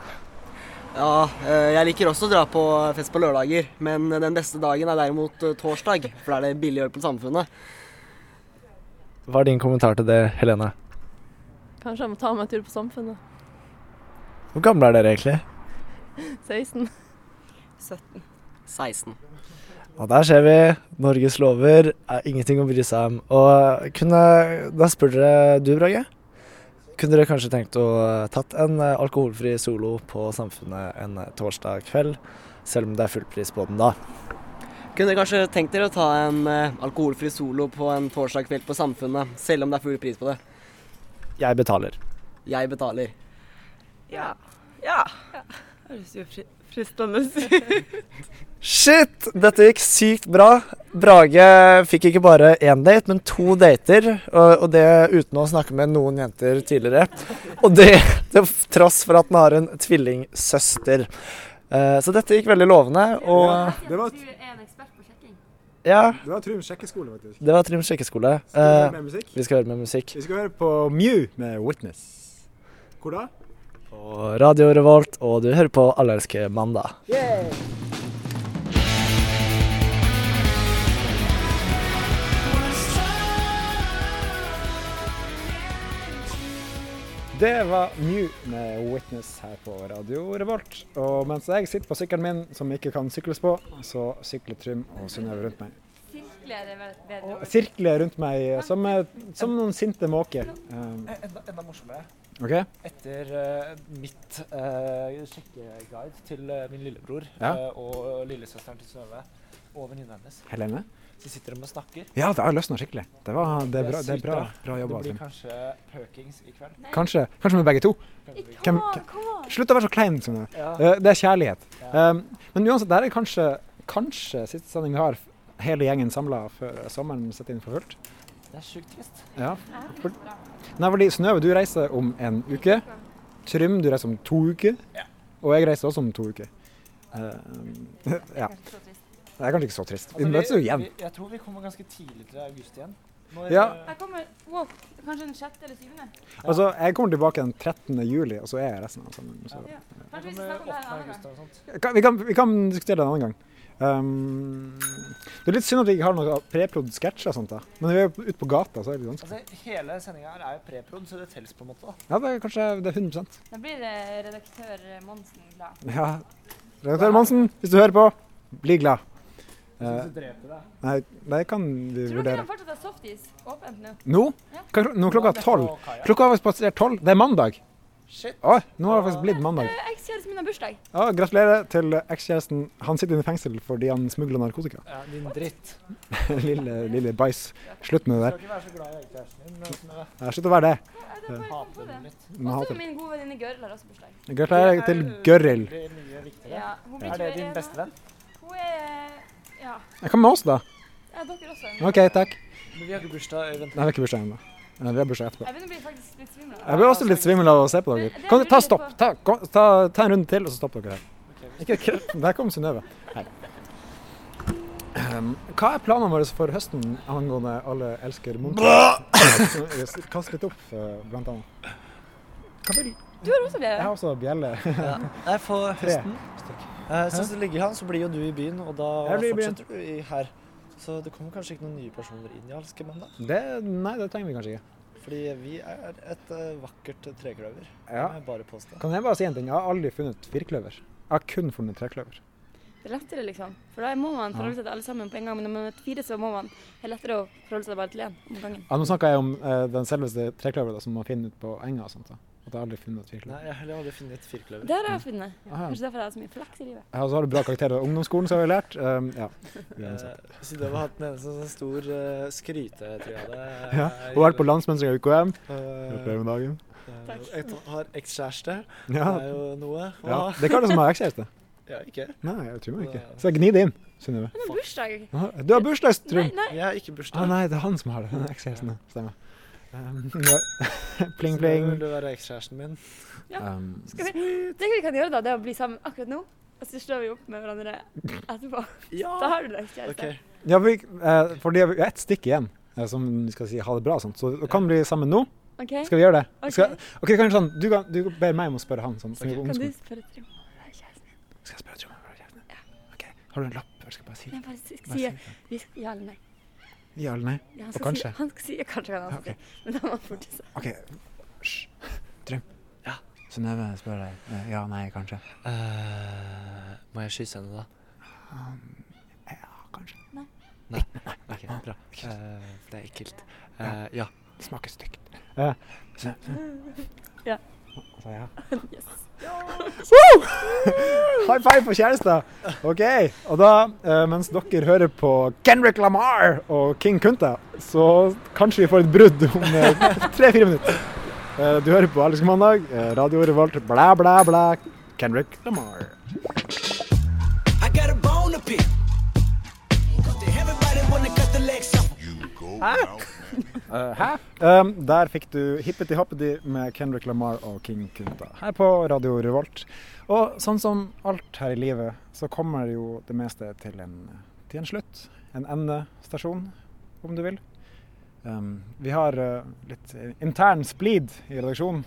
E: Ja, eh, jeg liker også å dra på fest på lørdager, men den beste dagen er derimot eh, torsdag, for da er det billig øl på samfunnet.
C: Hva er din kommentar til det, Helene?
J: Kanskje jeg må ta meg en tur på Samfunnet.
C: Hvor gamle er dere egentlig?
J: 16.
K: 17.
E: 16.
C: Og der ser vi. Norges lover er ingenting å bry seg om. Og eh, kunne Da spør dere du, Brage. Kunne dere kanskje tenkt å eh, tatt en eh, alkoholfri solo på Samfunnet en eh, torsdag kveld? Selv om det er fullpris på den da.
E: Kunne dere kanskje tenkt dere å ta en eh, alkoholfri solo på en torsdag kveld på Samfunnet, selv om det er full pris på det?
C: Jeg betaler.
E: Jeg betaler.
K: Ja. Ja. Høres jo fri- fristende ut.
C: Shit! Dette gikk sykt bra. Brage fikk ikke bare én date, men to dater. Og, og det uten å snakke med noen jenter tidligere. Og det til tross for at han har en tvillingsøster. Eh, så dette gikk veldig lovende. Og
B: Det var,
C: ja,
B: det var Trym sjekkeskole, faktisk.
C: det var Trym sjekkeskole.
B: Skal vi høre
C: Eh,
B: mer musikk?
C: vi skal høre med musikk.
B: Vi skal høre på Mew med Witness. Hvor da?
C: På Radio Revolt, og du hører på Allerske mandag.
B: Det var Mew med 'Witness' her på Radio Revolt. Og mens jeg sitter på sykkelen min, som ikke kan sykles på, så sykler Trym og Synnøve rundt meg.
D: Sirkler er vel et bedre ord.
B: Sirkler rundt meg som, eh, som noen sinte måker. Um,
G: Enda, morsommere.
B: OK?
G: Etter eh, mitt eh, sjekkeguide til eh, min lillebror
B: Ja.
G: eh, og lillesøsteren til Synnøve og venninna hennes,
B: Helene?
G: så sitter de og snakker.
B: Ja, det har løsna skikkelig. Det, var, det er bra, det er bra, bra
G: Det
B: jobba.
G: blir
B: Trym.
G: kanskje pøkings i kveld.
B: Kanskje, kanskje med begge to. Hvem, hvem, slutt å være så klein. Som det. Eh, det er kjærlighet. Um, men uansett, det er kanskje, kanskje siste sending vi har f- hele gjengen samla før sommeren setter inn for fullt.
G: Det er sjukt trist.
B: Ja. For, nei, fordi Synnøve, du reiser om en uke. Trym, du reiser om to uker. Og jeg reiser også om to uker. Eh, *laughs* ja. Det er kanskje ikke så trist.
C: Altså,
B: Vi møtes jo igjen.
G: jeg tror Altså, vi kommer ganske tidlig til august igjen.
B: Ja.
D: Jeg kommer wow, kanskje den sjette eller syvende.
B: Altså, jeg kommer tilbake den 13. juli, og så er jeg resten av sommeren. Så.
D: Kanskje vi skal snakke om det en annen gang.
B: Kan- Vi, kan, vi kan diskutere det en annen gang. Um, det er litt synd at vi ikke har noen preprodd sketsjer og sånt, da. Men vi er jo ute på gata, så er det litt vanskelig.
G: Altså, hele sendinga her er jo preprod, så det telles på en måte. da.
B: Ja, det er kanskje det er 100
D: Da blir eh, redaktør Monsen glad.
B: Ja. Redaktør Monsen, hvis du hører på, bli glad. Eh,
G: Så dreper det.
B: nei, det kan vi
D: Tror dere
B: vurdere.
D: de fortsatt har softis åpent nå?
B: Nå? Hva, er klo- nå er klokka tolv. Klokka har faktisk passert tolv. Det er mandag.
G: Shit.
B: Å, nå har det faktisk blitt mandag.
D: Eh, Ekskjæresten min har bursdag.
B: Ja, gratulerer til ekskjæresten. Han sitter under fengsel fordi han smugla narkotika.
G: Ja, din dritt.
B: *laughs* lille, lille bæsj. Slutt med
G: Skal
B: det der.
G: ikke være så glad i kjæresten din. men sånn, eh,
B: Ja, Slutt å være det.
D: Ja, da får jeg komme på
G: Hater
D: det.
G: den litt.
B: Nå
D: Og
B: hater
D: så min gode venninne Gøril har også bursdag.
B: Gratulerer til
G: Det er, eh,
B: Gøril.
G: veldig mye viktigere.
D: Ja, hun blir
G: Er det
D: 21
G: din
D: nå.
G: beste venn?
D: Hun er Ja,
B: Hva med oss, da?
D: ja dere også.
B: OK, takk.
G: Men vi har ikke bursdag, Øyvind.
B: Nei, vi har ikke bursdag ennå. Eh, Vi har bursdag etterpå.
D: Jeg begynner å bli faktisk litt svimmel.
B: Jeg blir også litt svimmel av å se på dere. Kan dere ta stopp? Ta, kom, ta, ta en runde til, og så stopper dere her. Ikke kre- Der kom Synnøve. Hei. Um, hva er planene våre for høsten angående Alle elsker Munch? Kast litt opp, eh, blant annet. Hva vil
D: Du har også
B: Jeg
D: bjelle.
B: har også bjelle.
C: Nei, for
B: Tre.
C: høsten eh, Sånn som det ligger an, så blir jo du i byen, og da
B: Jeg blir i byen.
C: fortsetter du i her. Så det kommer kanskje ikke noen nye personer inn i Alske mandag.
B: Det, nei, det trenger vi kanskje ikke.
C: Fordi vi er et eh, vakkert trekløver.
B: Ja.
C: Det må jeg bare påstå.
B: Kan jeg bare si en ting? Jeg har aldri funnet firkløver. Jeg har kun funnet trekløver.
D: Det er lettere, liksom. For da må man forholde seg til alle sammen på en gang. Men når man er fire, så må man Det er lettere å forholde seg bare til én om gangen.
B: Ja, nå snakka jeg om eh, den selveste trekløveren da, som man finner ute på enga og sånt. da. At jeg aldri funnet firkløver.
C: Nei, jeg har heller aldri funnet et firkløver.
D: Der har jeg funnet.
B: Aha.
D: Kanskje derfor jeg har så mye flaks i livet.
B: Ja, og så har du bra karakterer i ungdomsskolen, så har vi lært. Um, ja. Uansett.
C: *laughs* Eh, så det var hatt en eneste sånn stor uh, skrytetriade.
B: Ja, Og vært på landsmønstring av UKM.
C: Eh,
B: Gratulerer med dagen.
C: eh, jeg t- har ekskjæreste. Det
B: Ja.
C: er jo noe. Og,
B: ja. Det er ikke alle som har ekskjæreste.
C: Ja, ikke.
B: Nei, jeg tror meg ikke. Så gni det inn, Synnøve.
D: Men det er bursdag.
B: Aha, Du har bursdag,
D: Nei,
B: Trym!
D: nei.
C: Jeg har ikke bursdag.
B: Ah, nei, det er han som har det. Ekskjæresten, ja. stemmer. Um, *laughs* ja. pling,
C: Så da
B: pling.
C: vil du være ekskjæresten min?
B: Um,
D: Skal vi, det vi kan gjøre, da, det er å bli sammen akkurat nå. Og så slår vi opp med hverandre etterpå. Da har du deg
C: OK.
D: kjæreste.
B: ja, vi, eh, for det er ett stikk igjen eh, som vi skal si ha det bra og sånt. Så du kan bli sammen nå.
D: OK?
B: Skal vi gjøre det?
D: Ok.
B: Skal, ok, kanskje sånn, du, kan, du ber meg om å spørre han. Sånn, som vi på
D: Kan du
B: ungdomsskolen.
D: spørre Trym? Det er kjæresten min.
B: Skal jeg spørre Trym om han har kjæreste? Ok, Har du en lapp? Jeg skal bare si det.
D: Jeg bare si- sier vi skal- ja eller nei.
B: Ja eller nei?
D: Ja, han
B: Og
D: skal
B: kanskje?
D: Si, han skal si, kanskje kan han si. Men da må han forte seg.
B: OK. Hysj. Trym. Ja. Synnøve spør deg. eh, Ja, nei, kanskje.
C: Eh, må jeg kysse henne, da?
D: Nei.
C: Nei. OK, bra. Eh, det er ekkelt. Eh, ja.
B: Det smaker stygt. Eh, så,
D: Ja.
B: så Altså, ja.
D: Yes.
B: Woo! High five for kjærester! OK. Og da, eh, mens dere hører på Kendrick Lamar og King Kunta, så kanskje vi får et brudd om tre-fire minutter. Eh, du hører på Alex Mandag, eh, Radio Revolt, blæ, blæ, blæ. Kendrick Lamar.
L: I got a bone to pick. Everybody wanna cut the legs off.
B: hæ? Um, der fikk du Hippety Hoppety med Kendrick Lamar og King Kunta her på Radio Revolt. Og sånn som alt her i livet, så kommer jo det meste til en, til en slutt. En endestasjon, om du vil. Um, vi har eh, litt intern splid i redaksjonen.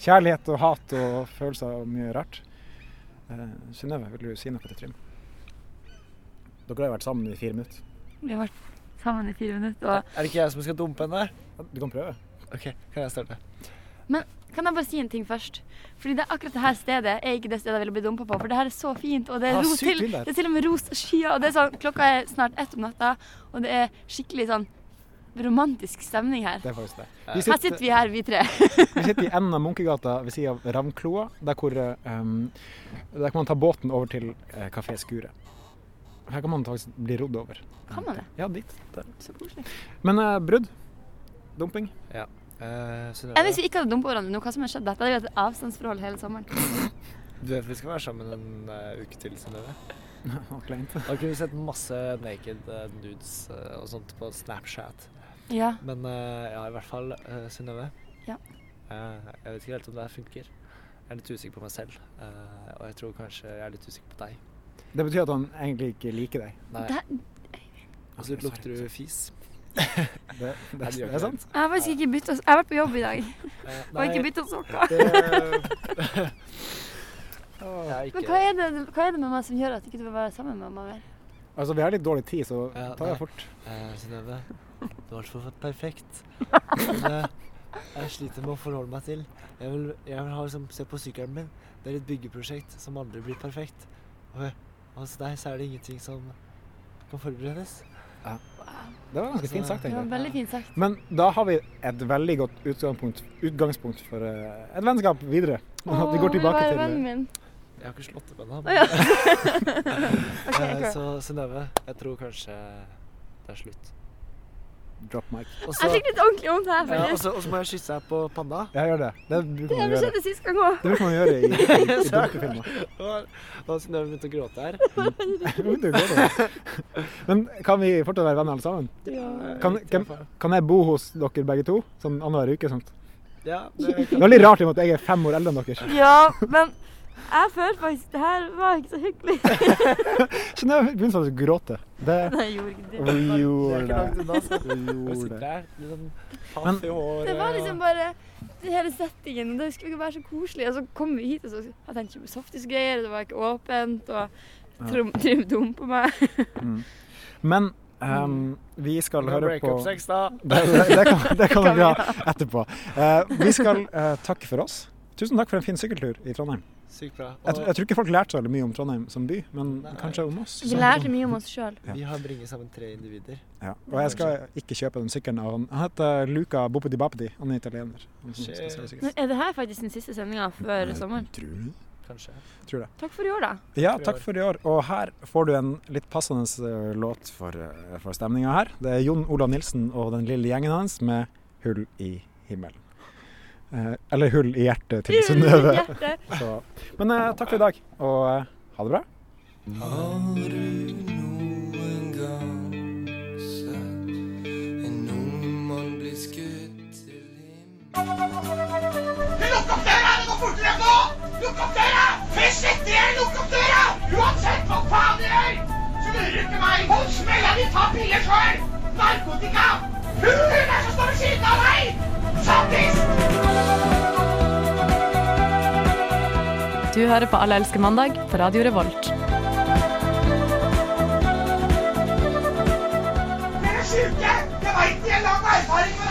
B: Kjærlighet og hat og følelser og mye rart. Uh, Synnøve, vil du si noe til Trym? Dere har jo vært sammen i fire minutter.
D: Vi har vært sammen i fire minutter.
F: Er det ikke jeg som skal dumpe henne?
B: Du kan prøve.
F: OK, kan jeg starte?
D: Og... Men kan jeg bare si en ting først? Fordi det, akkurat det her stedet er ikke det stedet jeg ville blitt dumpa på. For det her er så fint, og det er,
B: Ah,
D: ros
B: sykt
D: til,
B: fint der.
D: det er til og med ros skyer. Og det er sånn, klokka er snart ett om natta, og det er skikkelig sånn romantisk stemning her.
B: Det er faktisk det. Vi
D: Her sitter vi her, vi tre.
B: Vi sitter i enden av Munkegata ved siden av Ravnkloa, der, hvor, ehm, der kan man ta båten over til uh, Kafé Skuret. Her kan man faktisk bli rodd over.
D: Kan man det?
B: Ja, dit. Der.
D: Så koselig.
B: Men eh, brudd? *laughs* Dumping?
C: Ja. Eh, Synnøve,
D: Enn hvis vi ikke hadde dumpa hverandre nå, hva som hadde skjedd? Dette hadde vært et avstandsforhold hele sommeren.
C: du vet vi skal være sammen en eh, uke til, *laughs* Synnøve?
B: Og kleint.
C: Da kunne vi sett masse naked eh, nudes eh, og sånt på Snapchat.
D: Ja.
C: Men eh, ja, i hvert fall, uh, Synnøve.
D: Ja.
C: Eh, jeg vet ikke helt om det her funker. Jeg er litt usikker på meg selv, eh, og jeg tror kanskje jeg er litt usikker på deg.
B: Det betyr at han egentlig ikke liker deg.
C: Nei.
D: Det,
C: Og så lukter du fis. *laughs*
B: Det, det,
C: gjør
B: det
C: ikke
B: er sant.
D: jeg har faktisk ikke bytta Jeg har vært på jobb i dag og
C: Eh, nei.
D: ikke
C: *laughs*
D: bytta sokker.
C: Det- Jeg er
D: Men hva
C: ikke
D: er, det, hva er det med meg som gjør at ikke du vil være sammen med meg mer?
B: Altså, vi har litt dårlig tid, så
C: Ja,
B: ta
C: nei.
B: det fort.
C: Eh, Synnøve, du er altfor
D: *laughs*
C: perfekt. Men, eh, jeg sliter med å forholde meg til. Jeg vil, jeg vil ha, liksom, se på sykkelen min. Det er et byggeprosjekt som aldri blir perfekt. Og og hos deg så er det ingenting som kan forberedes.
B: Det var ganske fint sagt,
D: Det var
B: egentlig.
D: veldig fint sagt.
B: Men da har vi et veldig godt utgangspunkt, utgangspunkt for eh, et vennskap videre. At vi går
D: vil du
B: tilbake
D: være
B: til
D: vennen min?
C: Jeg har ikke slått opp ennå.
D: Å ja.
C: men-
D: *laughs*
C: *laughs*
D: OK,
C: Eh,
D: cool.
C: Så Synnøve, jeg tror kanskje det er slutt.
B: drop mic.
C: Og
D: Jeg
C: så
D: fikk litt ordentlig vondt her,
C: ja, og
D: faktisk.
C: så- og så må jeg kysse deg på *laughs* panna.
B: Ja, altså, gjør det. Det bruker
D: Det
B: man å gjøre.
D: skjedde sist gang òg.
B: Det bruker man å gjøre i, i, i dumpefilmer.
C: Og og Synnøve begynte å gråte her.
B: Ja, men det går da. *laughs* Men kan vi fortsatt være venner alle sammen? Kan,
C: Litt i
B: kan,
C: hvert fall.
B: kan jeg bo hos dere begge to? Sånn annenhver uke? og Sånt.
C: Ja, det
B: Det er veldig rart i og med at jeg er fem år eldre enn dere.
D: Ja, men jeg følte faktisk Det her var ikke så hyggelig. *laughs*
B: Så nå begynner jeg å gråte. Det
D: Nei, jeg gjorde ikke det.
B: vi gjorde
C: ikke langt unna, så.
B: Vi
C: Vi
B: gjorde
C: sitter
B: det.
C: her, liksom
B: Men-
C: paff i håret.
D: Det var liksom
C: og-
D: bare det hele settingen. og Det skulle ikke være så koselig. Og så kom vi hit, og så hadde jeg ikke med softisgreier, det var ikke åpent, og Trym Trym dumpa meg.
B: Men ehm, vi skal
C: Nå
B: høre på
C: breakup-sex, da.
B: *laughs* Det, det, det kan, det kan vi ha etterpå. Eh, vi skal eh, takke for oss. Tusen takk for en fin sykkeltur i Trondheim.
C: Sykt bra.
B: Jeg,
C: Og
B: tr- jeg tror ikke folk lærte så veldig mye om Trondheim som by, men
C: Nei.
B: kanskje om oss.
D: Vi lærte mye om oss sjøl.
B: Ja.
C: vi har bringet sammen tre individer.
B: Ja. Og jeg skal ikke kjøpe den sykkelen av han. Han heter Luca Boppeti Bappeti. Han er italiener. Han som skal selge sykkel.
D: Er det her faktisk den siste sendinga før sommeren?
B: Tror du?
C: Kanskje.
D: Takk for i år, da.
B: Ja, takk for i år. Og her får du en litt passende eh, låt for, eh, for stemninga her. Det er Jon Olav Nilsen og den lille gjengen hans med 'Hull i himmelen'. Eh, eller 'Hull i hjertet'
D: *laughs*
B: til Synnøve.
D: Hjerte.
B: Så- Men eh, takk for i dag, og eh, ha det bra.
L: Har du noen gang sett en nordmann bli skutt til himmelen?
H: Lukk opp døra! Det går fortere enn nå! Lukk opp døra! Fysj etter dere! Lukk opp døra! Uansett hva faen dere gjør, så lurer dere ikke meg. Hold smella di! Ta piller sjøl! Narkotika! Hulen er som står ved siden av meg! Sattis!
J: Du hører på Alle elsker mandag på Radio Revolt.
H: Dere er sjuke! har ikke